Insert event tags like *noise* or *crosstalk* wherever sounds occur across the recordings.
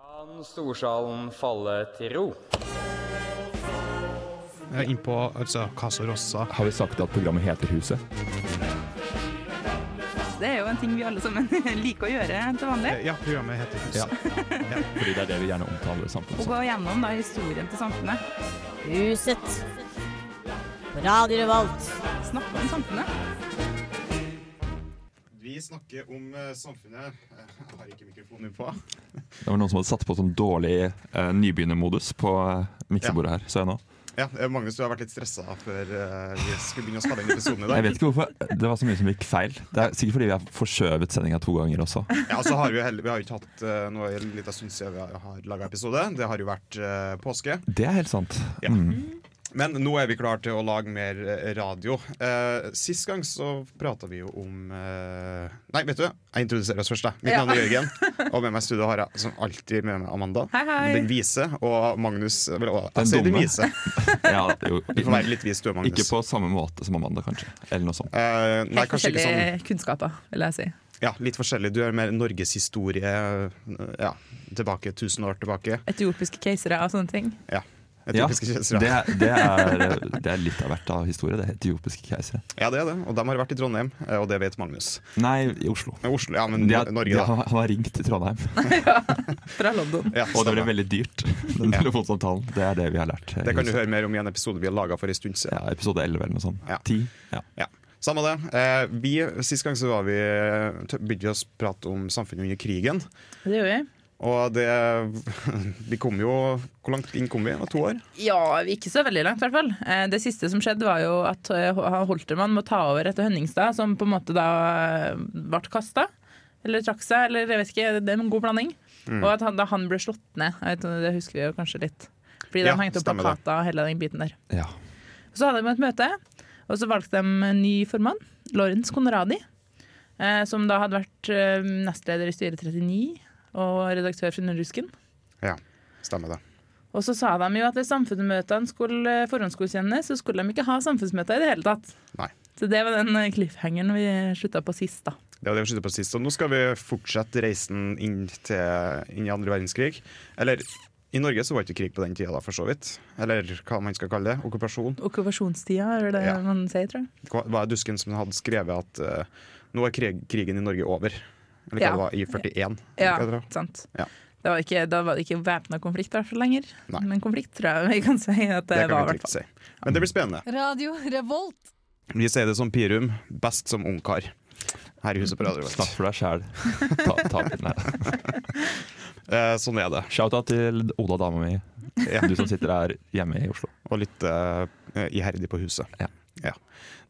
kan storsalen falle til ro. Eh, Innpå altså, Casa Rossa. Har vi sagt at programmet heter Huset? Det er jo en ting vi alle sammen *laughs* liker å gjøre til vanlig. Eh, Ja, programmet heter Huset. Fordi det er det vi gjerne omtaler Å samfunnet som. gå gjennom da, historien til samfunnet. Huset. På Radio Revolt. Snakke om samfunnet. Vi snakker om eh, samfunnet. Eh, Jeg har ikke mikrofonen på. Det var noen som hadde satt på sånn dårlig eh, nybegynnermodus på eh, miksebordet her, så jeg nå. Ja, eh, Magnus, du har vært litt stressa før eh, vi skulle begynne å spille inn episoden i Jeg dag. vet ikke hvorfor det var så mye som gikk feil. Det er sikkert fordi vi har forskjøvet sendinga to ganger også. Ja, og så har Vi jo heller, vi har jo ikke hatt eh, noe en liten stund siden vi har- har laga episode. Det har jo vært eh, påske. Det er helt sant. Ja. Mm. Men nå er vi klare til å lage mer eh, radio. Eh, sist gang så prata vi jo om eh, Nei, vet du, jeg introduserer oss først. Jeg. Mitt Ja. navn er Jørgen, *laughs* og med meg i studio har jeg som alltid med meg Amanda. Hei, hei. Den vise og Magnus. Vel, å, Den jeg sier den dumme. vise. Ja, jo, Du får være litt vis, du, Magnus. ikke på samme måte som Amanda, kanskje. Eller noe sånt. Eh, nei, Helt kanskje ikke forskjellige sånn kunnskaper, vil jeg si. Ja, litt forskjellig. Du er mer norgeshistorie eh, ja, tilbake, tusen år tilbake. Etiopiske keisere og sånne ting. Ja. Ja, Etiopiske det, keisere. er- det, er, det er litt av hvert av historie. Det er etiopiske keisere. Ja, det er det. Og de har vært i Trondheim, eh, og det vet Magnus. Nei, i Oslo. Eh, Oslo, ja, men De har, de Norge, har, da. han har ringt til *laughs* Trondheim, Fra *laughs* London. Ja, og det ble stemmer. veldig dyrt. Den telefonsamtalen. Det er det vi har lært. eh, det kan du i huset. høre mer om i en episode vi har laga for en stund siden. Ja, episode 11 eller noe sånt. Ja. 10. Ja. Ja. Samme det. Eh, vi, sist gang så var vi, tø- begynte vi å prate om samfunnet under krigen. Det gjør vi. Og det *laughs* Vi kom jo Hvor langt inn kom vi? Det var To år? Ja, ikke så veldig langt i hvert fall. Eh, Det siste som skjedde var jo at eh, H- Holtermann må ta over etter Hønningstad, som på en måte da eh, ble kasta. Eller trakk seg, eller jeg vet ikke. Det er en god blanding. Mm. Og at han, da han ble slått ned. Jeg vet, ikke, det husker vi jo kanskje litt. Fordi Ja, de hengte opp stemmer det. plakater og hele den biten der. Ja. Så hadde de et møte, og så valgte de en ny formann, Lawrence Conradi, eh, som da hadde vært eh, nestleder i styret 39 og redaktør for Nordrusken. Ja, stemmer det. Og så sa de jo at hvis samfunnsmøtene skulle eh, forhåndsgodkjennes, så skulle de ikke ha samfunnsmøter i det hele tatt. Nei. Så det var den eh, cliffhangeren vi slutta på sist, da. Det var det vi sluttet på sist. Og nå skal vi fortsette reisen inn, til, inn i andre verdenskrig. Eller i Norge så var det ikke krig på den tida, da, for så vidt. Eller hva man skal kalle det. Okkupasjon. Okkupasjonstida, er det Ja. man sier, tror jeg. Hva var det Dusken som hadde skrevet at eh, nå er krig, krigen i Norge over? Eller hva Ja. det var i 41? Ja, Hva det var? sant. Ja. Det var ikke, da var det ikke væpna konflikt i hvert fall lenger. Nei. Men konflikt tror jeg vi kan si at det, Det kan var. vi i hvert trygt si. Men det blir spennende. Radio Revolt. Vi sier det som Pirum, best som ungkar. Her i huset på Radio Vest. Snakk for deg sjæl. Ta, ta, nei. Eh, sånn er det. Shout-out til Oda, dama mi. Ja. Du som sitter her hjemme i Oslo. Og litt eh, iherdig på huset. Ja. Ja.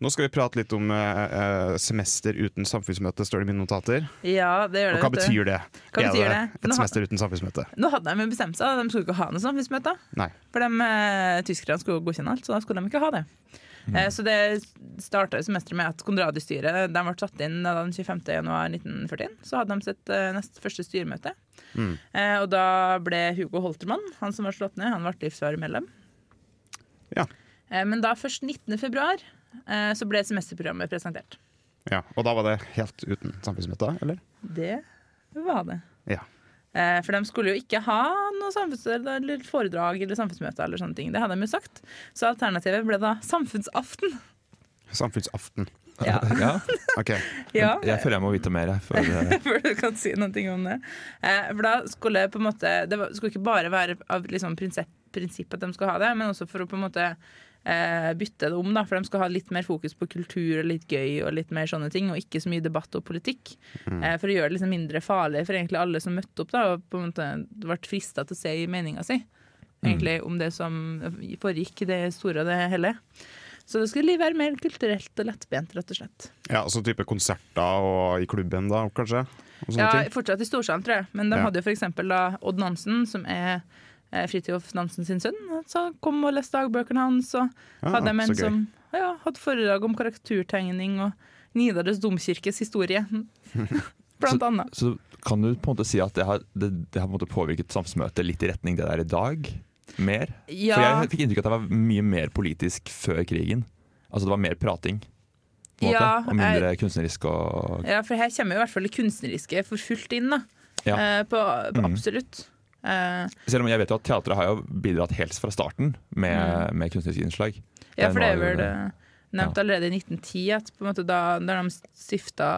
Nå skal vi prate litt om eh, eh, semester uten samfunnsmøte, står det i mine notater. fall. Ja, det gjør Og det, hva vet du. betyr det? Hva betyr er det? det et Nå- semester uten samfunnsmøte? Nå hadde de jo bestemt seg, de skulle ikke ha noe samfunnsmøte. Nei. For de, eh, tyskerne skulle godkjenne alt, så da skulle de ikke ha det. Eh, så det starta semesteret med at Konradi-styret de ble satt inn da den 25.1.1941. Så hadde de sitt eh, nest første styremøte. Eh, og da ble Hugo Holtermann, han som var slått ned, han ble livsvarig medlem. Ja. Eh, men da først 19.2. Eh, så ble semesterprogrammet presentert. Ja. Og da var det helt uten samfunnsmøte, eller? Det var det. Ja. Eh, For de skulle jo ikke ha noe samfunns- eller foredrag eller samfunnsmøte. eller sånne ting. Det hadde de jo sagt. Så alternativet ble da samfunnsaften. Samfunnsaften. Ja. Ja. OK. *laughs* Ja, Jeg føler jeg må vite mer. Jeg, før, eh, *laughs* Før du kan si noe om det. Eh, For da skulle på en måte, det var- skulle ikke bare være av liksom prinsipp, prinsipp at de skulle ha det, men også for å på en måte eh, bytte det om. da, For de skulle ha litt mer fokus på kultur og litt gøy og litt mer sånne ting, og ikke så mye debatt og politikk. Eh, For å gjøre det liksom mindre farlig for egentlig alle som møtte opp da, og på en måte ble frista til å si meninga si. egentlig om det som foregikk i det store og det hele. Så det skulle være mer kulturelt og lettbent, rett og slett. Ja, så type konserter og i klubben, da, kanskje? Og sånne Ja, ting. Fortsatt i storsalen, tror jeg. Men de Ja. hadde jo f.eks. Odd Nansen, som er eh, Fridtjof Nansen sin sønn, som kom og leste dagbøkene hans. Og Ah, hadde de så en gøy. som ja, hadde foredrag om karaktertegning og Nidaros domkirkes historie, *laughs* blant annet. så kan du på en måte si at det har, det, det har på en måte påvirket samfunnsmøtet litt i retning det der i dag? Mer? For Ja, jeg fikk inntrykk av at det var mye mer politisk før krigen. Altså det var mer prating. På en måte, Ja, og mindre kunstnerisk og ja, for her kommer jo i hvert fall det kunstneriske for fullt inn, da. Ja. Eh, på, på Mhm. absolutt. Eh, Selv om jeg vet jo at teatret har jo bidratt helt fra starten med, med kunstneriske innslag. Mm. ja, for det var er jo vel eh, nevnt allerede i 1910, at på en måte da, da de stifta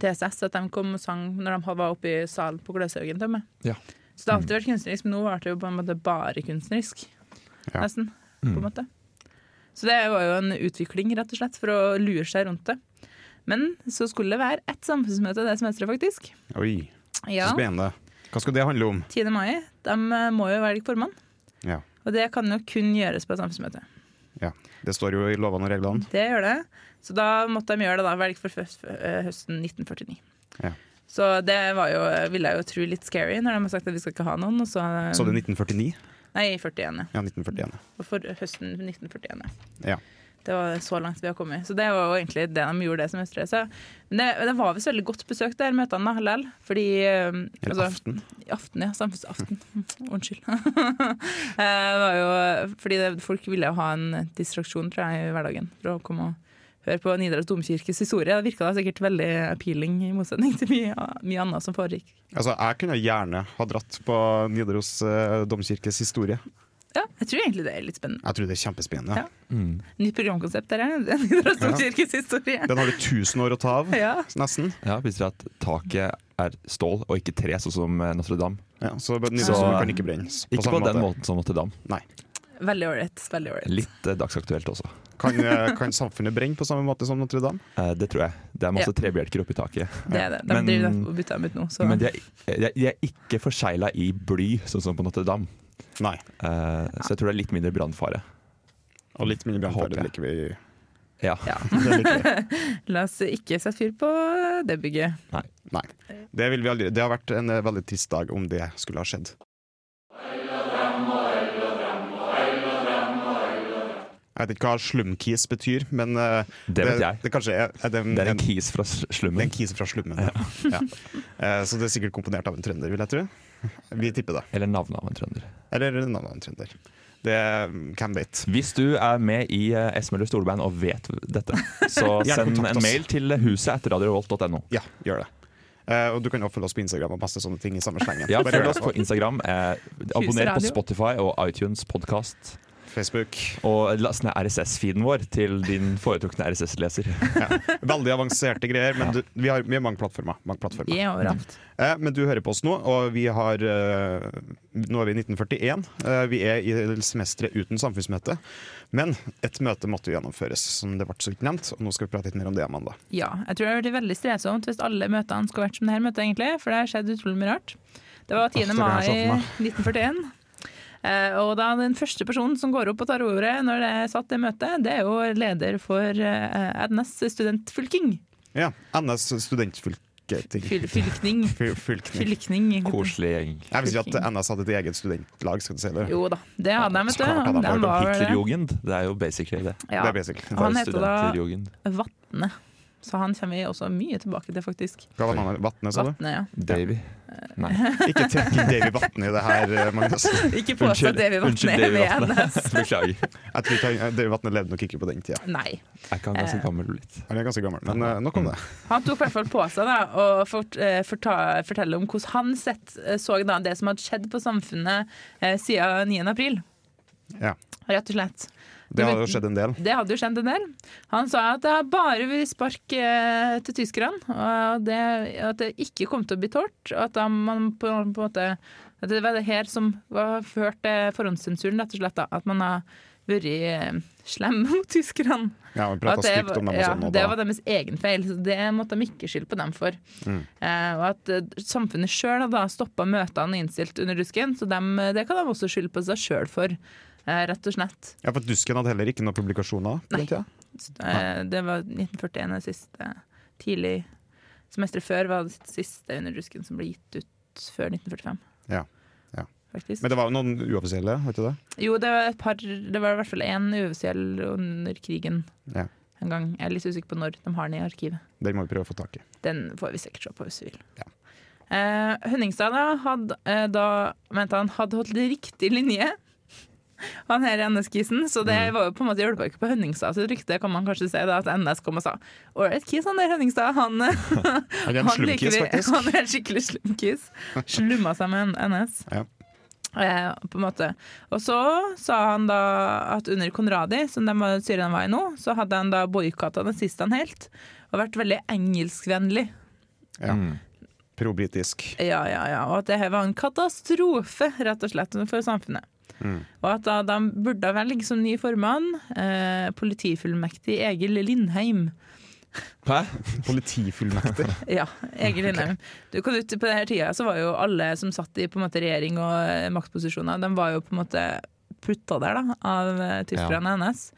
TSS, at de kom og sang når de var oppe i salen på Gløshaugen. til og med. Ja. Så det har Mm. alltid vært kunstnerisk, men nå ble det jo på en måte bare kunstnerisk. Ja. Mm. Nesten. på en måte. Så det var jo en utvikling, rett og slett, for å lure seg rundt det. Men så skulle det være ett samfunnsmøte det semesteret, faktisk. Oi, så Ja, spennende. Hva skal det handle om? 10. mai. De eh, må jo velge formann. Ja, Og det kan jo kun gjøres på et samfunnsmøte. ja. Det står jo i lovene og reglene. Det gjør det. Så da måtte de gjøre det, da. Velge for først- eh, høsten 1949. Ja. Så det var jo, ville jeg jo tro litt scary når de har sagt at vi skal ikke ha noen. Og så, Så det Um. er 1949? Nei, 41. ja. Ja, 1941. Og For høsten 1941. ja. Ja. Det var så langt vi har kommet. Så det var jo egentlig det de gjorde det semesteret. Så, men det, det var visst veldig godt besøkt, der møtene da, likevel. Fordi eh, Eller altså, aften. i aften, ja. Samfunnsaften. *laughs* Unnskyld. Eh, det var jo, fordi det, folk ville jo ha en distraksjon, tror jeg, i hverdagen. For å komme og høre på Nidaros domkirkes historie. Det virka da sikkert veldig appealing, i motsetning til mye, mye annet som foregikk. Altså, jeg kunne gjerne ha dratt på Nidaros eh, domkirkes historie. Ja, jeg tror egentlig det er litt spennende. Jeg tror det er kjempespennende. Ja. Nytt programkonsept der, ja. *laughs* Nidaros domkirkes historie. Den har du 1000 år å ta av, *laughs* Ja. nesten. Ja, Viser at taket er stål og ikke tre, sånn som eh, Notre-Dame. Ja, så Nidaros Så- domkirke kan ikke brennes. På Ikke på samme den måte. måten som Notre-Dame. Nei. Veldig ålreit. Veldig ålreit. Litt eh, dagsaktuelt også. Kan, eh, kan samfunnet brenne på samme måte som Notre-Dame? Eh, det tror jeg. Det er masse trebjelker oppi taket. Det er det. De Men- driver og bytter dem ut nå. Så. Men de er, de er- de er ikke forsegla i bly, sånn som på Notre-Dame. Nei. Eh, Så jeg tror det er litt mindre brannfare. Og litt mindre brannfare. Håper Det jeg. liker vi. Ja. Ja. Det liker vi. La oss ikke sette fyr på det bygget. Nei. Det, vil vi aldri. det har vært en eh, veldig trist dag om det skulle ha skjedd. Jeg vet ikke hva slumkis betyr, men eh, Det vet jeg. Det, kanskje er, er det, en, Det er en en, kis fra s- det er en slummen. kis fra slummen. Ja. *laughs* Ja. Eh, så det er sikkert komponert av en trønder, vil jeg tro. Vi tipper det. Eller navnet av en trønder. Eller en annen trønder. Det mm, Hvem vet. Hvis du er med i eh, Esmøller storband og vet dette, så *laughs* Gjerne send kontakt en oss. mail til huset etter radiorevolt.no. Ja, gjør det. Eh, og du kan jo følge oss på Instagram og masse sånne ting i samme slengen. Ja, Bare følg gjør oss det. på Instagram. Eh, abonner på Radio. Spotify og iTunes podkast. Facebook. Og last ned RSS-feeden vår til din foretrukne *laughs* RSS-leser. Veldig avanserte greier, men du, vi, har, vi har mange plattformer. Mange plattformer. Vi er overalt. Eh, Men du hører på oss nå, og vi har eh, Nå er vi i 1941. Eh, vi er i semesteret uten samfunnsmøte. Men et møte måtte jo gjennomføres, som det ble så vidt nevnt. Og nå skal vi prate litt mer om det, Amanda. Ja, jeg tror det hadde vært veldig strevsomt hvis alle møtene skulle vært som det her møtet, egentlig, for det har skjedd utrolig mye rart. Det var 10. det kan mai jeg se for meg. 1941. Eh, og da den første personen som går opp og tar ordet når det er satt det møtet, det er jo leder for eh, Adnes studentfylking. Ja, NS studentfylketing. Fyl *laughs* fylkning. *laughs* Fyl- Fylkning. Fylkning. Koselig gjeng. Jeg vil si at NS hadde et eget studentlag, skal du si det. Jo da, det hadde de, vet Klart hadde du. de De hørt om var vel det. Hitlerjugend, det er jo basically det. Ja. Det er basically. Han Det er heter da- studenterjugend. Vatne. Så han kommer vi også mye tilbake til, faktisk. Hva var navnet? Vatne, sa du? Vatne, ja. Davy. Nei. Ikke trekk inn *laughs* Davy Vatne i det her, eh, Magnus. Ikke påstå Unnskyld, at Davy Vatne unnskyld er Davy med Vatne. Adnes. *laughs* Beklager. Jeg tror ikke han- Davy Vatne levde nok ikke på den tida. Nei. Er ikke han Eh. ganske gammel blitt? Han er ganske gammel, men eh, nok om det. Han tok i hvert fall på seg da, å fort, eh, forta, fortelle om hvordan han sett, eh, så da, det som hadde skjedd på samfunnet eh, siden 9. april. Mm. Ja. Rett og slett. Det har jo skjedd en del. Det hadde jo skjedd en del. Han sa at det har bare vært spark eh, til tyskerne, og det, at det ikke kom til å bli tårt. Og at, da man på, på en måte, at det var det her som var ført til forhåndssensuren, rett og slett. Da, at man har vært eh, slem *laughs* mot tyskerne. Ja, vi Og at pratet stygt om dem og ja, sånn. Og det da- var deres egen feil, så det måtte de ikke skylde på dem for. Mm. Eh, og at eh, samfunnet sjøl hadde stoppa møtene innstilt under rusken, så dem, eh, det kan de også skylde på seg sjøl for, eh, rett og slett. Ja, for Dusken hadde heller ikke noen publikasjoner på den tida. Eh, Det var 1941 det siste tidlig semesteret før var det siste under rusken som ble gitt ut før 1945. Ja, ja. Faktisk. Men det var jo noen uoffisielle, var ikke det? Jo, det var, et par, det var i hvert fall én uoffisiell under krigen Ja. en gang. Jeg er litt usikker på når de har den i arkivet. Den må vi prøve å få tak i. Den får vi sikkert se på hvis vi vil. Ja. Eh, Hønningstad da, hadde, eh, da mente han hadde holdt riktig linje. han her i NS-kisen, så det Mm. var jo på en måte hjelpa ikke på Hønningstad sitt rykte, kan man kanskje si, da, at NS kom og sa ålreit kis, han der Hønningstad, han, eh." Er det en han liker slumkis, vi- faktisk? *laughs* Han er en skikkelig slumkis. Slumma seg med en NS. *laughs* Ja. Eh, på en måte. Og så sa han da at under Konradi, som de var- Syria var i nå, så hadde han da boikotta nazistene helt, og vært veldig engelskvennlig. Ja. Pro-britisk. Ja, ja, ja. Og at det her var en katastrofe, rett og slett, for samfunnet. Og at da de burde velge som ny formann eh, politifullmektig Egil Lindheim. Hæ? Politifullmektig. *laughs* Ja, Egil Lindheim. Du kan ut På denne tida så var jo alle som satt i på en måte regjering og eh, maktposisjoner, de var jo på en måte putta der da, av eh, tyskerne hennes.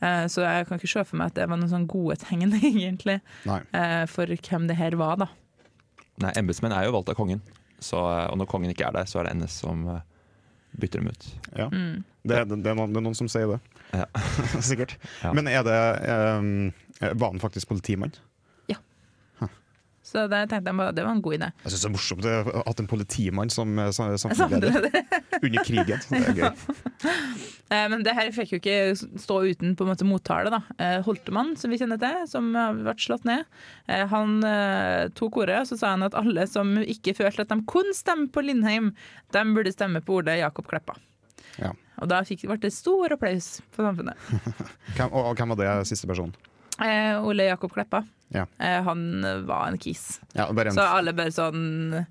Eh, Så jeg kan ikke se for meg at det var noen sånn gode tegn, *laughs* egentlig, Nei. eh, for hvem det her var, da. Nei, embetsmenn er jo valgt av kongen. Så, eh, og når kongen ikke er der, så er det NS som eh, bytter dem ut. Ja. Det, er- det, er noen, det er noen som sier det. Ja. *laughs* Sikkert. Ja. Men er det eh, Var han faktisk politimann? Så der tenkte jeg bare det var en god idé. Jeg syns det er morsomt eh, at en politimann som eh, sam- Samtidig- samfunnsleder under krigen. Det er gøy. *laughs* Eh, Men det her fikk jo ikke stå uten på en måte mottale. da. Eh, Holtemann, som vi kjenner til, som har vært slått ned, eh, han eh, tok ordet og så sa han at alle som ikke følte at de kunne stemme på Lindheim, de burde stemme på Ole Jakob Kleppa. Ja. Og da fikk, ble det stor applaus på samfunnet. Hvem, og, og hvem var det siste personen? Eh, Ole Jakob Kleppa, Ja. eh, han var en kis. Ja, bare en, Så alle bare sånn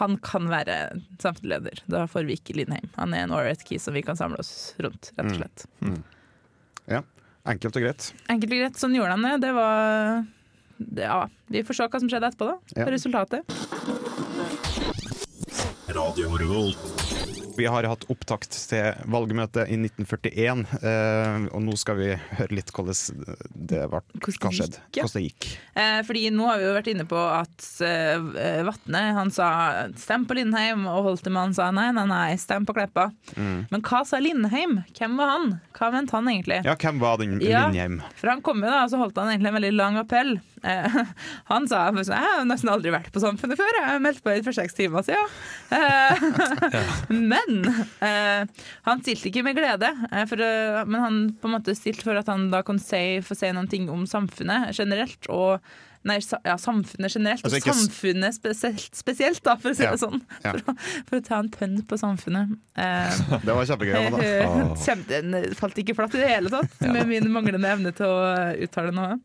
Han kan være samfunnsleder. Da får vi ikke Lindheim. Han er en ålreit kis som vi kan samle oss rundt, rett og slett. ja. Enkelt og greit. Enkelt og greit, sånn gjorde han det. Det var det- Ja, vi får se hva som skjedde etterpå, da. Ja. Resultatet. Vi har hatt opptakt til valgmøtet i 1941, eh, og nå skal vi høre litt hvordan det ble, Hvordan hva det skjedde. gikk, ja. Hvordan det gikk. Eh, fordi nå har vi jo vært inne på at eh, Vatne han sa 'stem på Lindheim', og Holtemann sa nei, nei, nei, stem på Kleppa. Men hva sa Lindheim? Hvem var han? Hva mente han egentlig? Ja, hvem var den Ja. Lindheim? For han kom jo da, og så holdt han egentlig en veldig lang appell. Eh, *laughs* han sa bare sånn, jeg har nesten aldri vært på Samfunnet før, jeg har meldt meg ut for seks timer siden. Eh, *laughs* *laughs* men eh, han stilte ikke med glede, eh, for, eh, men han på en måte stilte for at han da kan si, få si noen ting om samfunnet generelt, og Nei, sa- ja, samfunnet generelt, Altså, ikke og s- samfunnet spesielt, spesielt da, for å si Ja, det sånn. ja. For, å, for å ta en pønn på samfunnet. Eh, *laughs* Det var *laughs* kjempegøy. Eh, Amanda. hun kjempe- Den falt ikke flatt i det hele tatt, med min manglende evne til å eh, uttale noe.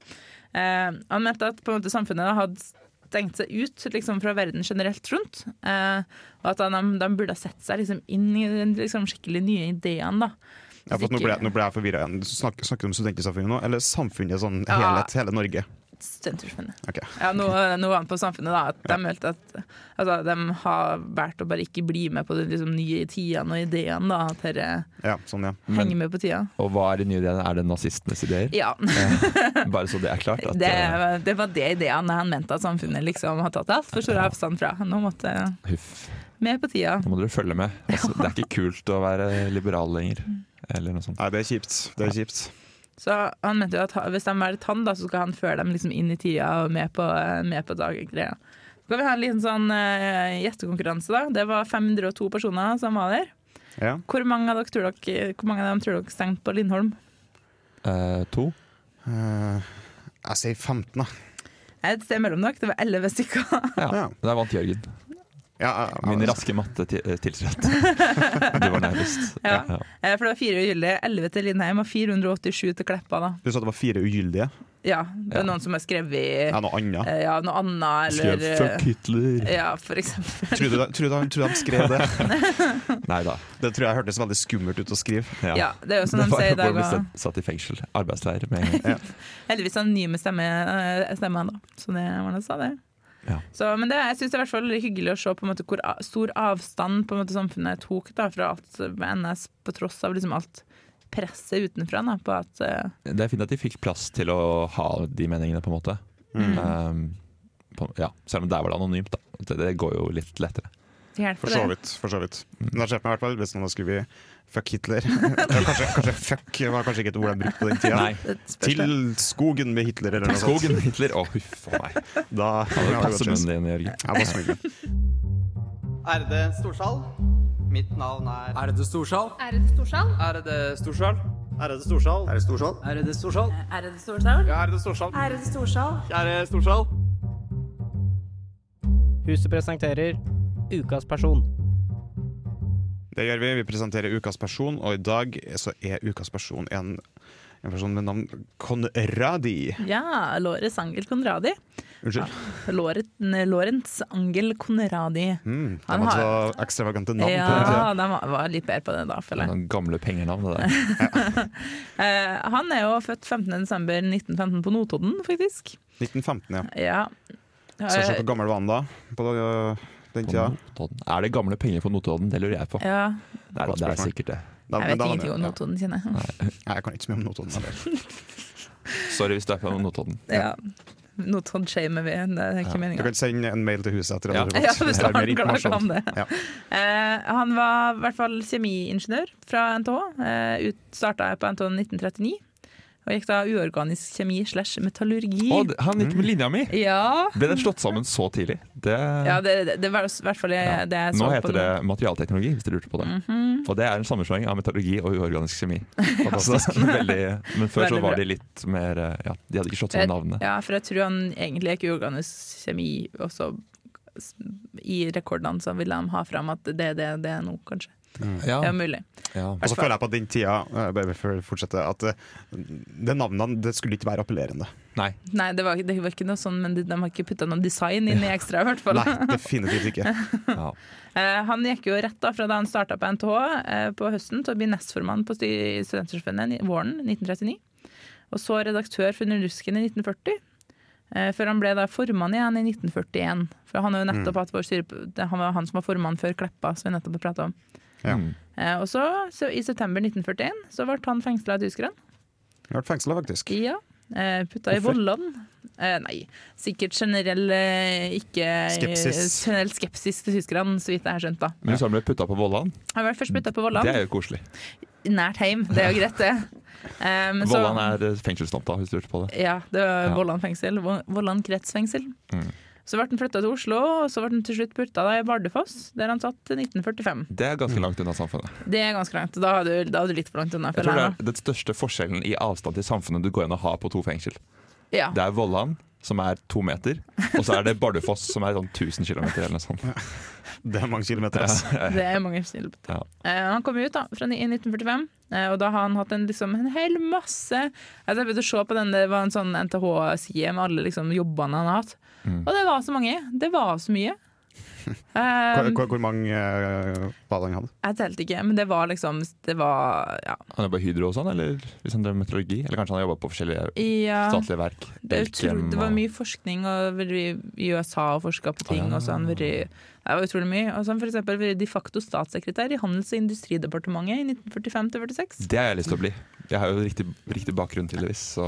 Eh, han mente at på en måte, samfunnet hadde stengt seg ut liksom, fra verden generelt rundt. eh, og at de, de burde ha sett seg liksom, inn i den liksom, skikkelig nye ideen. Da. Ja, for at nå ble, nå ble jeg forvirra igjen. Du Snak, snakker du om studentsamfunnet nå, eller samfunnet sånn Ja. helhet, hele Norge? Studentersamfunnet. Ok. Ja, nå, nå var han på Samfunnet, da. At de følte at altså, de har valgt å bare ikke bli med på de liksom, nye tidene og ideene. Da, at dette Ja, sånn, ja. henger med på tida. Og hva er de nye ideene? Er det nazistenes ideer? Ja. Bare så det er klart. At, eh, Det, det var det ideene han mente at samfunnet liksom har tatt altfor stor avstand fra. Nå måtte eh, huff. med på tida. Nå må dere følge med. Altså, det er ikke kult å være liberal lenger. Eller noe sånt. Nei, det er kjipt. Det er kjipt. Så han mente jo at ha- hvis de velger han, da, så skal han føre dem liksom inn i tida og med på, eh, med på daggreia. Så kan vi ha en liten sånn eh, gjettekonkurranse, da. Det var 502 personer som var der. Ja. Hvor mange av, dere tror dere, hvor mange av dem tror dere stengte på Lindholm? Eh, to. Eh, jeg sier 15, da. Et sted mellom dere. Det var 11 stykker. *laughs* Ja. Ja. Der vant Jørgen. Ja, jeg- jeg- Min raske matte ti- eh, tilsrett. *laughs* Du var nærmest. Ja. Eh, For det var fire ugyldige. 11 til Lindheim og 487 til Kleppa, da. Du sa det var fire ugyldige. Ja, det er Ja. noen som har skrevet Ja, noe annet. Eh, Ja, noe annet Skrev eller fuck Hitler. *laughs* Ja, for eksempel. Tror du, det- tror, du, tror du de skrev det? *laughs* Nei da. Det tror jeg hørtes veldig skummelt ut å skrive. *laughs* Ja, det er jo som Det de var sier i dag. hvor vi og satt, satt i fengsel. Arbeidsleir med en *laughs* gang. Heldigvis anonyme stemme, eh, stemmer, da. Så det var det han sa, det. Ja. Så, men det, jeg syns det er i hvert fall hyggelig å se på en måte hvor a- stor avstand på en måte samfunnet tok da, fra alt med NS, på tross av liksom alt presset utenfra. Da, på at, eh, Det er fint at de fikk plass til å ha de meningene, på en måte. Mm. Um, på, ja. Selv om der var det anonymt, da. Det, det går jo litt lettere. det hjelper For så det. vidt. for så vidt. Men det skjedde meg i hvert fall hvis noen har skrevet 'fuck Hitler'. *laughs* Ja, kanskje, kanskje 'fuck' var kanskje ikke et ord jeg brukte på den tida. Nei. Det spørs det. Til skogen med Hitler, eller noe sånt. Skogen, Hitler. Å, huff a meg. *laughs* Da Passe munnen din, Jørgen. Jeg må smile. Ærede storsal. Mitt navn er Er det Storsal? Ærede Storsal. Er det Storsal? Ærede Storsal. Er det Storsal? Er det Storsal? Er det Storsal? Ja, er det Storsal? Ærede Storsal. Kjære Storsal. Huset presenterer Ukas person. Det gjør vi. Vi presenterer ukas person, og i dag så er ukas person en, en person med navn Conradi. Ja, Lores Angel Conradi. Unnskyld. Ah. Loret, Lorentz Angel Conradi. Mm, de Han har så har- ekstravagante navn. på den tiden. Ja, de var- var litt bedre på det da, føler jeg. Noen gamle pengenavn, det der. Eh, han er jo født 15.12.1915 på Notodden, faktisk. 1915, ja. Ja. Så se Eh, hvor gammel var han da? På øh, den På tida? Notodden. Er det gamle penger på Notodden? Det lurer jeg på. ja. Det er, det er sikkert det. Da- Jeg men vet da var han- ingenting om ja. Notodden, kjenner jeg. Nei, jeg kan ikke så mye om Notodden. heller. Sorry hvis du er på Notodden. Ja. Notodden-shamer vi, det er ikke Du meninga. kan sende en mail til huset etter Ja. at du Ja, hvis du Det er har mer en glad informasjon. klam det. Ja. Eh, han var i hvert fall kjemiingeniør fra NTH. Eh, ut- Starta på NTH 1939. Og gikk da uorganisk kjemi slash metallurgi. Å, det- han gikk med linja mi! ja. Ble den slått sammen så tidlig? Det, ja, det, det, det var i hvert fall det, Ja. det Mhm. jeg så Nå på. heter det materialteknologi, hvis du lurte på det. Og det er en sammenslåing av metallurgi og uorganisk kjemi. *laughs* Fantastisk. Veldig, men før Veldig så var bra. de litt mer eh, Ja, de hadde ikke slått sammen navnene. Ja, for jeg tror han egentlig gikk uorganisk kjemi også s- i rekordene, så ville de ha fram at det er det det er nå, kanskje. Det er mulig. ja. Og så føler jeg på den tida eh, bare før jeg fortsetter, at eh, det navnet det skulle ikke være *laughs* appellerende. Nei. Nei, det var, det var ikke noe sånn, men de, de har ikke putta noe design inn i ekstra, i hvert fall. Nei, definitivt ikke. Ja. *laughs* Eh, han gikk jo rett da fra da han starta på NTH eh, på høsten til å bli nestformann på sty- Studentersamfunnet i våren 1939. Og så redaktør for Nordusken i 1940. eh, Før han ble da formann igjen i 1941. For han har jo nettopp hatt vår styre... det- Han var han som var formann før Kleppa, som vi nettopp har prata om. Ja. Mm. Eh, Og så, så i september 1941 så ble han fengsla av tyskerne. Jeg har vært fengsla, faktisk. Ja. eh, Putta i Hvorfor? Vollan. Eh, nei, sikkert generell eh, ikke Skepsis. Generell skepsis til tyskerne, så vidt jeg har skjønt, da. Men hvis han ble putta på Vollan, Han ble først putta på det Vollan, er jo koselig. nært heim. Det er jo greit, det. Eh, men så- Vollan er eh, fengselstomta, hvis du lurte på det. Ja, det var Ja. Vollan fengsel. Vo- Vollan kretsfengsel. Mm. Så ble han flytta til Oslo, og så ble han til slutt putta da i Bardufoss, der han satt til 1945. Det er ganske langt unna samfunnet. Det er ganske langt. Da er du, da er du litt for langt unna. Jeg føler tror det jeg, da. er den største forskjellen i avstand til samfunnet du går inn og har på to fengsel. Ja. Det er Vollan, som er to meter, og så er det Bardufoss, som er sånn 1000 km eller noe sånt. Det er mange kilometer. ass. Det er mange snille på det. Eh, han kom jo ut da, fra ni- i 1945, eh, og da har han hatt en, liksom, en hel masse altså, Jeg begynte å se på den, det var en sånn NTH-side med alle liksom, jobbene han har hatt. Og det var så mange. Det var så mye. Hvor, Eh, hvor, hvor mange eh, bad han hadde? jeg telte ikke, men det var liksom Det var ja. Han jobba i Hydro og sånn, eller hvis han drev med meteorologi? Eller kanskje han har jobba på forskjellige ja statlige verk? det, er Elkem utrolig, det var og- mye forskning og vært i i USA og forska på ting. Og så har han vært i- det var utrolig mye. Og så har han for eksempel vært de facto statssekretær i Handels- og industridepartementet i 1945-46. Det har jeg lyst til å bli. Jeg har jo riktig, riktig bakgrunn, tydeligvis. Så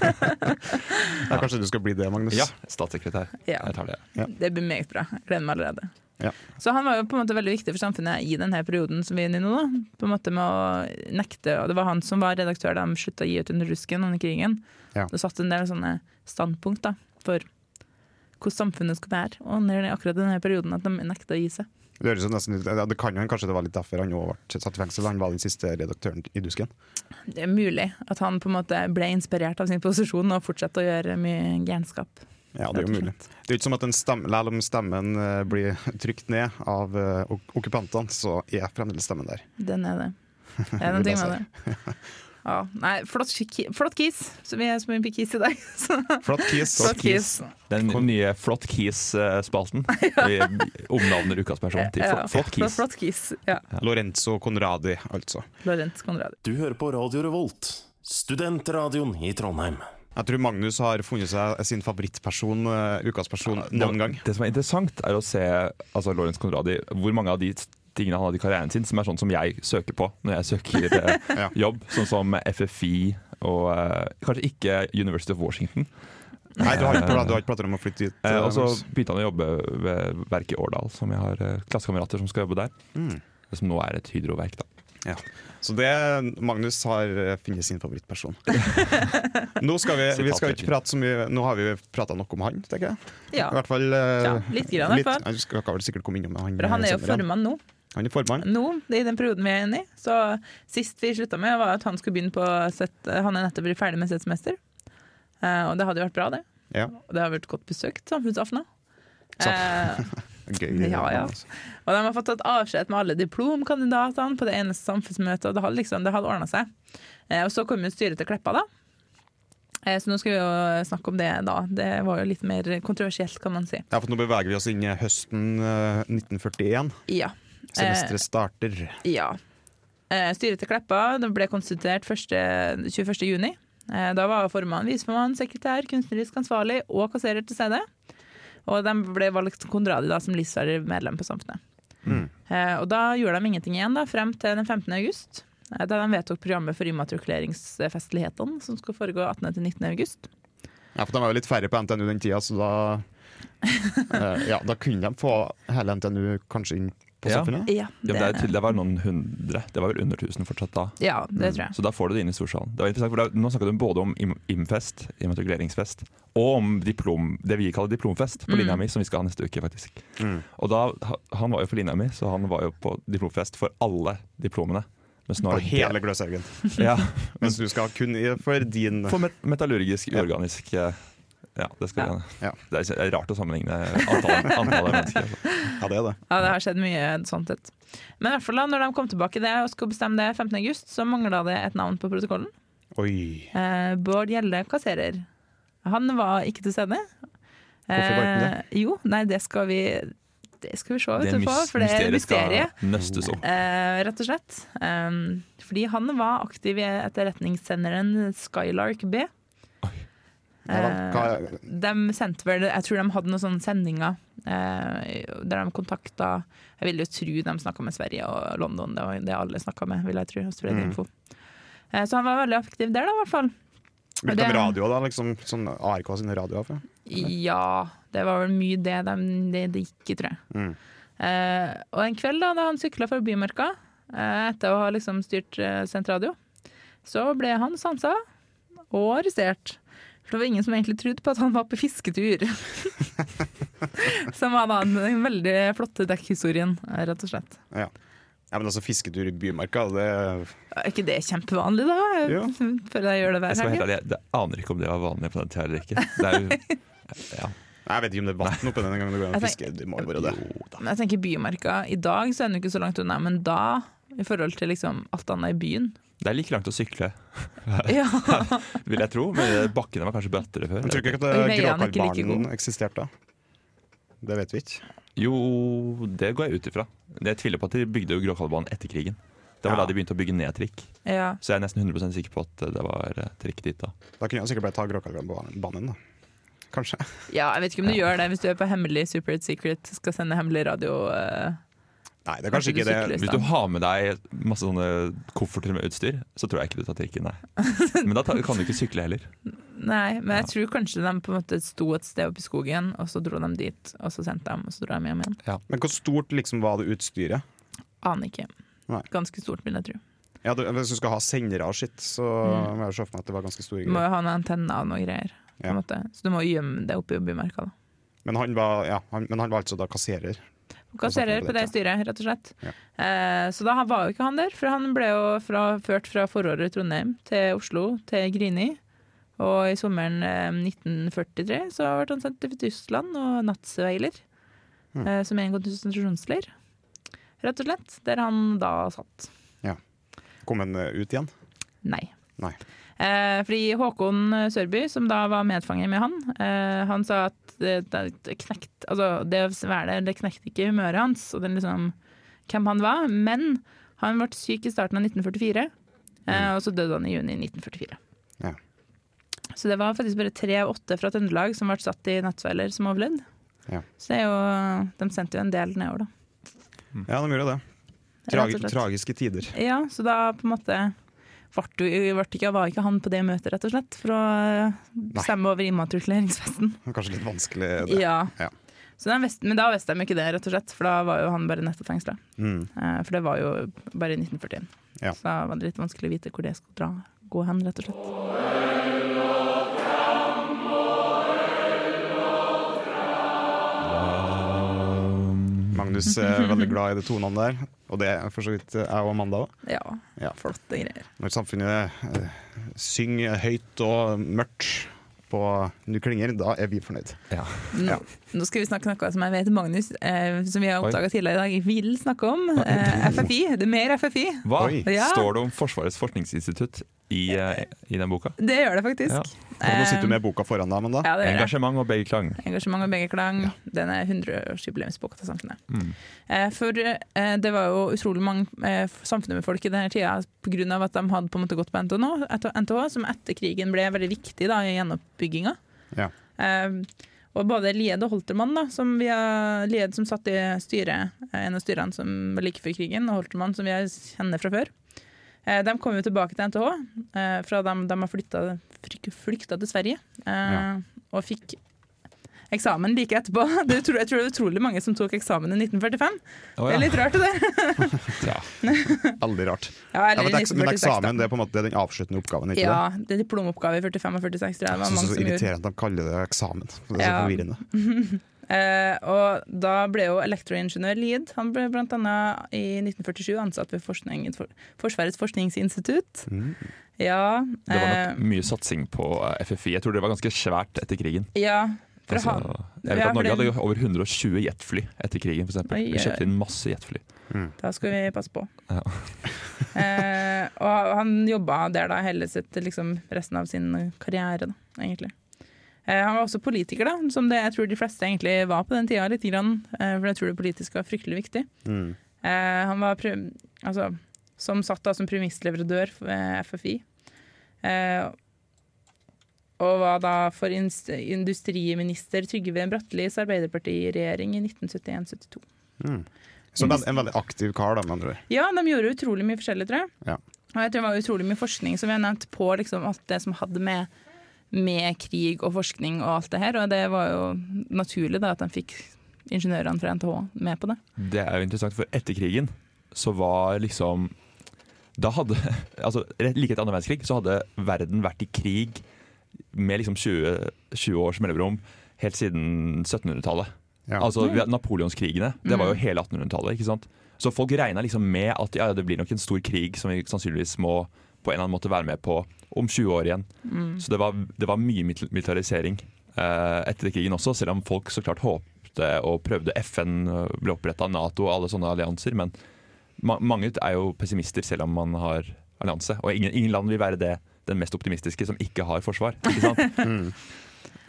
*laughs* Ja, kanskje du skal bli det, Magnus? ja, statssekretær. Ja. Jeg tar det. Det blir meget bra. Jeg Gleder meg allerede. Ja. Så han var jo på en måte veldig viktig for samfunnet i denne perioden som vi er inne i nå. Da. På en måte med å nekte Og det var han som var redaktør da de slutta å gi ut under rusken under krigen. Ja. Det satt en del sånne standpunkt da for hvordan samfunnet skulle være. Og under akkurat denne perioden at de nekta å gi seg. Det, høres jo nesten ut, ja, det kan jo hende kanskje det var litt derfor han òg ble satt i fengsel. Han var den siste redaktøren i Dusken. Det er mulig at han på en måte ble inspirert av sin posisjon og fortsatte å gjøre mye gærenskap. Ja, det er jo rett og mulig. slett. Det er jo ikke som at en stemme, Selv om stemmen eh, blir trykt ned av eh, ok- okkupantene, så er fremdeles stemmen der. Den *laughs* er det. Det er noe Vil jeg med det. Ja, nei, flott, ki- flott kis. Så vi er så mye kis i dag. *laughs* Så, Flatt kis. flott kis. Den nye Flott eh, *laughs* Keys-spalten. Vi omnavner ukas person til Ja, Flott- Flott Keys. Flott kis. Ja. Lorenzo Conradi, altså. Lorentz Conradi. Du hører på Radio Revolt, studentradioen i Trondheim. Jeg tror Magnus har funnet seg sin favorittperson, eh, ukas person, noen gang. Det som er interessant, er å se altså, Lawrence Conradi, hvor mange av de tingene han hadde i karrieren sin, som er sånn som jeg søker på når jeg søker *laughs* eh, Ja. jobb. Sånn som FFI og eh, kanskje ikke University of Washington. Nei, du har ikke, pla- du har ikke planer om å flytte dit? Eh, eh, og så altså- Magnus. begynte han å jobbe ved verket Årdal, som jeg har eh, klassekamerater som skal jobbe der. Mm. Som nå er et hydroverk, da. Ja. Så det Magnus har eh, funnet sin *laughs* favorittperson. Nå skal vi, vi skal ikke prate så mye Nå har vi prata nok om han, tenker jeg. Ja. I hvert fall eh, Ja, litt grann i hvert fall. litt- Jeg skal, skal vel sikkert komme innom han. eh, For han er jo senere. formann nå. Han er formann. Nå, i den perioden vi er inne i, så sist vi slutta med, var at han skulle begynne på sitt- Han er nettopp blitt ferdig med sitt semester. Eh, og det hadde jo vært bra, det. Ja, Og det har vært godt besøkt, samfunnsaften. Så- Eh, gøy. Ja, ja. Altså. og de har fått tatt avskjed med alle diplomkandidatene på det eneste samfunnsmøtet, og det hadde liksom, det hadde ordna seg. Eh, og så kom jo styret til Kleppa, da. Eh, så nå skal vi jo snakke om det da. Det var jo litt mer kontroversielt, kan man si. Ja, for nå beveger vi oss inn i høsten eh, 1941. Ja. Eh. Semesteret starter. Ja. Eh, styret til Kleppa det ble konstituert 1. 21. juni. Eh, da var formann, viseformann, sekretær, kunstnerisk ansvarlig og kasserer til stede. Og de ble valgt Konradi da, som livsvarig medlem på Samfunnet. Mm. Eh, og da gjorde de ingenting igjen da, frem til den 15. august, eh, da de vedtok programmet for immatrikuleringsfestlighetene som skal foregå 18. til 19. august. Ja, for De var jo litt færre på NTNU den tida, *laughs* så da eh, Ja, da kunne de få hele NTNU kanskje inn på Ja. samfunnet. Ja, Ja, men det, er tidligere, det var noen hundre. Det var vel under 1000 fortsatt da. ja, det tror jeg. Så da får du det inn i storsalen. Det var interessant, for da, Nå snakket du både om im- imfest, immatrikuleringsfest, og om diplom, det vi kaller diplomfest Mm. på linja mi, som vi skal ha neste uke, faktisk. Mm. Og da, ha- Han var jo på linja mi, så han var jo på diplomfest for alle diplomene. Mens nå På er det hele Gløshaugen. det- Ja, Mens du skal kun i- for din For met metallurgisk, uorganisk eh, Ja, det skal vi Ja. Det er- det er rart å sammenligne antallet, antallet mennesker. *laughs* altså. Ja, det er det. Ja, det har skjedd mye sånt. et. Men i hvert fall da, når de kom tilbake det og skulle bestemme det 15. august, så mangla det et navn på protokollen. Oi. Eh, Bård Gjelle kasserer. Han var ikke til stede. Hvorfor var han Eh, jo, nei, det skal vi Det skal vi se Det etterpå, mys- for det er mysteriet. skal nøstes opp. Eh, rett og slett. Um, fordi han var aktiv i etterretningssenderen Skylark B. Eh, Ja, da, hva, De sendte vel, jeg tror de hadde noen sånne sendinger eh, der de kontakta Jeg vil jo tro de snakka med Sverige og London, det var det alle snakka med, vil jeg tro. og spredde Mm. info. Eh, så han var veldig aktiv der, da, i hvert fall. Hvilken Det- radio da, liksom? Sånn ARK sine radioer? for? Ja, det var vel mye det de, det de gikk i, tror jeg. Mm. Eh, og en kveld da, da han sykla for Bymarka, eh, etter å ha liksom styrt eh, sendt radio, så ble han sansa og arrestert. For det var ingen som egentlig trodde på at han var på fisketur. *laughs* som var da den veldig flotte dekkhistorien, eh, rett og slett. Ja, men altså Fisketur i bymarka, det Er ikke det kjempevanlig, da? Ja. Jeg Føler jeg gjør det Jeg hver skal være helg. helt ærlig, jeg jeg aner ikke om det var vanlig på den tida eller ikke. Det er jo, *laughs* ja. Nei, Jeg vet ikke om det er vann oppe den gangen du går an å Jeg fiske. Det må jo være det. Men jeg tenker Bymarka i dag, så er den jo ikke så langt unna, men da, i forhold til liksom alt annet i byen det er like langt å sykle, *laughs* Ja, *laughs* vil jeg tro. Men bakkene var kanskje brattere før. Men tror du ikke at Og eh, veiene er ikke like Gråkallbanen eksisterte da? Det vet vi ikke. Jo, det går jeg ut ifra. Jeg tviler på at de bygde jo Gråkallbanen etter krigen. Det var Ja. da de begynte å bygge ned trikk. ja. Så jeg er nesten 100 sikker på at det var eh, trikk dit da. Da kunne jeg sikkert bare ta Gråkallbanen, da. Kanskje. Ja, jeg vet ikke om du gjør det hvis du er på hemmelig Super Secret skal sende hemmelig radio. eh. Nei, det er kanskje Kanskje ikke du det. sykler. Hvis du har med deg masse sånne kofferter med utstyr, så tror jeg ikke du tar trikken, nei. *laughs* Men da ta- kan du ikke sykle heller. Nei, men jeg tror kanskje de på en måte sto et sted oppe i skogen, og så dro de dit, og så sendte de, og så dro de hjem igjen. Men hvor stort liksom var det utstyret? Aner ikke. Nei. Ganske stort, vil jeg tro. Ja, det, hvis du skal ha sendere og sitt, så må jeg jo se for meg at det var ganske store Du Mm. må greier. jo ha noen antenner og noe greier. På en Ja. måte. Så du må jo gjemme deg oppe i bymarka. da. Men han var, ja, han, men han var altså da kasserer. Kasserer på det styret, rett og slett. Ja. Eh, så da var jo ikke han der, for han ble jo fra, ført fra forordet i Trondheim til Oslo, til Grini. Og i sommeren eh, 1943 så ble han sendt til Tyskland og nattsveiler, Mm. eh, som er en konsentrasjonsleir, rett og slett, der han da satt. Kom han eh, ut igjen? Nei. Nei. Eh, fordi Håkon Sørby, som da var medfanger med han, eh, han sa at det, det knekt, altså det svælet det knekte ikke humøret hans, og den liksom, hvem han var. Men han ble syk i starten av 1944, eh, og så døde han i juni 1944. Mm. Ja. Så det var faktisk bare tre av åtte fra Trøndelag som ble satt i nattsveiler som overlevde. Ja. Så det er jo, de sendte jo en del nedover, da. Ja, de gjorde det. Mm. Rett og Tragi- slett. tragiske tider. *laughs* Ja, så da på en måte vart du, vart ikke, var ikke han på det møtet, rett og slett, for å eh, bestemme over immatrikuleringsfesten. Kanskje litt vanskelig. Det. Ja. Ja. Så den visste- men da visste de ikke det, rett og slett, for da var jo han bare nettopp fengsla. Mm. Eh, For det var jo bare i 1941. Ja. Så da var det litt vanskelig å vite hvor det skulle dra, gå hen, rett og slett. *laughs* Magnus er veldig glad i de tonene der. Og det er for så vidt eh, jeg og Amanda òg. Ja, Ja. flotte greier. Når samfunnet eh, synger høyt og mørkt på Nu klinger, da er vi fornøyd. Ja. Nå, nå skal vi snakke noe som jeg vet Magnus, eh, som vi har Oi. oppdaga tidligere i dag, vil snakke om. Eh, FFI. Det er mer FFI. Hva Oi. Ja. står det om Forsvarets forskningsinstitutt i, eh, i den boka? Det gjør det faktisk. Ja. Og nå sitter du Eh, med boka foran deg, Amanda. ja, det gjør det. Engasjement og begge klang. Engasjement og begge klang. Den er 100-årsjubileumsboka til samfunnet. Mm. Eh, for eh, det var jo utrolig mange eh, samfunnet med folk i denne tida pga. at de hadde på en måte gått på NTH, etter- NTH som etter krigen ble veldig viktig da, i gjenoppbygginga. Ja. Eh, og både Lied og Holtermann, da, som vi har, Lied som satt i styret, eh, en av styrene som var like før krigen, og Holtermann som vi kjenner fra før. Eh, De kom jo tilbake til NTH, eh, fra dem de har flytta- flyk- flykta til Sverige. eh, Ja. Og fikk eksamen like etterpå. *laughs* Det er utro- jeg tror det er utrolig mange som tok eksamen i 1945. Å, Det ja. er litt rart, det. Veldig rart. Ja, Ja, eller men, det er, ikke- men 1946, da. eksamen det er på en måte den avsluttende oppgaven, ikke Ja, det er diplomoppgave i 45 og 46, tror jeg. Det det? var Jeg mange synes det er som så gjorde. irriterende at de kaller det eksamen. For det er så Ja. forvirrende. *laughs* Eh, og da ble jo elektroingeniør Lied, han ble bl.a. i 1947 ansatt ved forskning, for, Forsvarets forskningsinstitutt. Mm. Ja, Det var eh, nok mye satsing på eh, FFI. Jeg tror det var ganske svært etter krigen. eh, ja for å Altså, ha, jeg vet Ja, at for Norge hadde det- jo over 120 jetfly etter krigen. For eksempel. Oi, Vi oi, oi. kjøpte inn masse jetfly. Da skal vi passe på. Ja. *laughs* eh, og han jobba der da hele sitt, liksom, resten av sin karriere, da, egentlig. Eh, han var også politiker, da, som det jeg tror de fleste egentlig var på den tida, lite grann, eh, for jeg tror det politiske var fryktelig viktig. Mm. Eh, han var pre altså, som satt da som premissleverandør ved FFI. Eh, og var da for inst- industriminister Trygve Brattelis Arbeiderparti-regjering i 1971-72. Så en veld- en veldig aktiv kar, da, med andre ord. Ja, de gjorde utrolig mye forskjellig, tror jeg. Ja. Og jeg tror det var utrolig mye forskning som jeg nevnte på liksom, alt det som hadde med, med krig og forskning og alt det her. Og det var jo naturlig da, at de fikk ingeniørene fra NTH med på det. Det er jo interessant, for etter krigen så var liksom Da hadde *laughs* altså rett- Like etter andre verdenskrig så hadde verden vært i krig med liksom 20, 20 års mellomrom helt siden 1700-tallet. Ja. Mm. Altså vi hadde Napoleonskrigene. Det var jo hele 1800-tallet. ikke sant? Så folk regna liksom med at ja, det blir nok en stor krig som vi sannsynligvis må på en eller annen måte være med på om 20 år igjen. Så det var, det var mye mil- militarisering eh, etter krigen også, selv om folk så klart håpte og prøvde. FN eh, ble oppretta, Nato og alle sånne allianser. Men ma mange er jo pessimister selv om man har allianse. Og ingen, ingen land vil være det den mest optimistiske som ikke har forsvar. Ikke sant?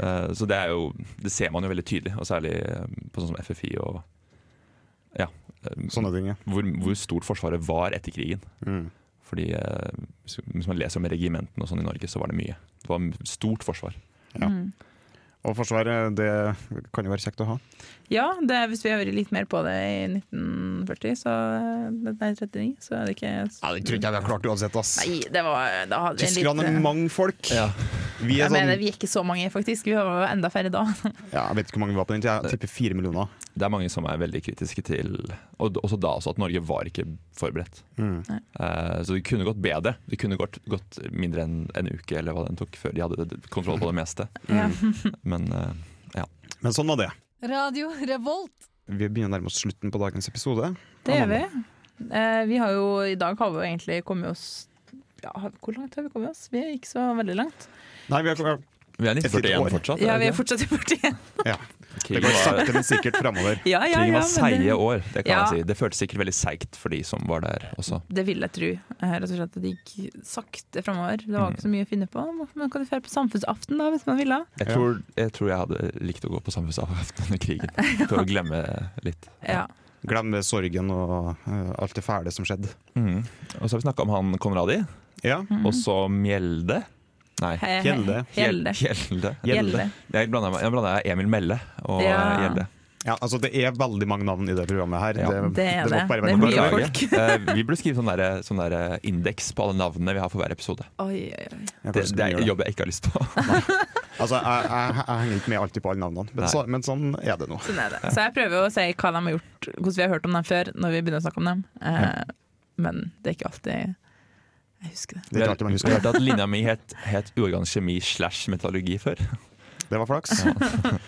Eh, Så det er jo Det ser man jo veldig tydelig, og særlig eh, på sånn som FFI og Ja. eh, Sånne ting, ja. Hvor, hvor stort Forsvaret var etter krigen. Mm. Fordi eh, hvis hvis man leser om regimentene og sånn i Norge, så var det mye. Det var stort forsvar. Og Forsvaret, det kan jo være kjekt å ha. Ja, det, hvis vi hører litt mer på det i 1940, så eh, Nei, 39, så er det ikke Ja, Det tror ikke jeg vi har klart uansett, ass. Nei, det var Da hadde vi en Tyskerne er litt eh, mange folk. Vi er jeg sånn, mener, vi er ikke så mange, faktisk. Vi var enda færre da. ja, jeg vet ikke hvor mange vi var på den tida, jeg tipper fire millioner. Det er mange som er veldig kritiske til Og d- også da også at Norge var ikke forberedt. Mm. Eh, Så det kunne gått bedre. Det kunne gått, gått mindre enn en uke eller hva den tok før de hadde d- kontroll på det meste. Mm. Ja. Men eh, Men sånn var det. Radio Revolt. Vi begynner å nærme oss slutten på dagens episode. Det gjør vi. Eh, vi har jo, I dag har vi jo egentlig kommet oss ja, Hvor langt har vi kommet oss? Vi er ikke så veldig langt. Nei, vi har, vi er Et lite 1941 år. fortsatt. Ja, vi det er fortsatt i partiet. det Krigen går var- sakte, men sikkert framover. *laughs* Ja, ja, Krigen ja, var men seige år, det kan Ja. man si. Det føltes sikkert veldig seigt for de som var der også. Det, det vil jeg tro. Eh, Rett og slett at det gikk sakte framover. Det var ikke så mye å finne på. Man kan jo dra på samfunnsaften da, hvis man ville. Jeg Ja. tror jeg, tror jeg hadde likt å gå på samfunnsavheften under krigen, for å glemme litt. Ja. Glemme sorgen og eh, alt det fæle som skjedde. Mhm. Og så har vi snakka om han Konradi, Ja, Mm. og så Mjelde. Nei, He- he- Gjelde. Eh, Gjelde. Gjelde. Gjelde. Jeg blanda meg- jeg blanda Emil Melle og Ja. eh, Gjelde. ja altså Det er veldig mange navn i det programmet her. Ja. Det, Det er må det. bare Det være er klart. mye Beklager. folk. Eh, Vi burde skrive sånn der, sånn der eh, indeks på alle navnene vi har for hver episode. Oi, oi, oi. Jeg Det, kanskje det skal er gjøre jobb jeg ikke har lyst på. Altså, jeg, jeg, jeg henger ikke med alltid på alle navnene, men, Nei. så, men sånn er det nå. Sånn er det. Så jeg prøver jo å si hva de har gjort, hvordan vi har hørt om dem før, når vi begynner å snakke om dem. Eh, Men det er ikke alltid jeg husker det. Det er ikke alltid man Vi husker hørte at linja mi het, het uorganisk kjemi slash metallurgi før. Det var flaks. *laughs*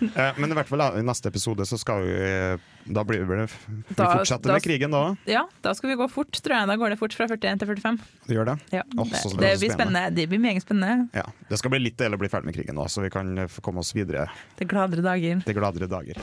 Eh, Men i hvert fall da, i neste episode så skal vi eh, Da blir vi, vi Da- fortsetter da- med krigen, da òg. Ja, da skal vi gå fort, tror jeg. Da går det fort fra 41 til 45. Gjør det. Ja, Åh, det, så- så det spennende. blir spennende. Det blir meget spennende. Ja. Det skal bli litt deilig å bli ferdig med krigen nå, så vi kan eh, få komme oss videre Det er gladere dager. til gladere dager.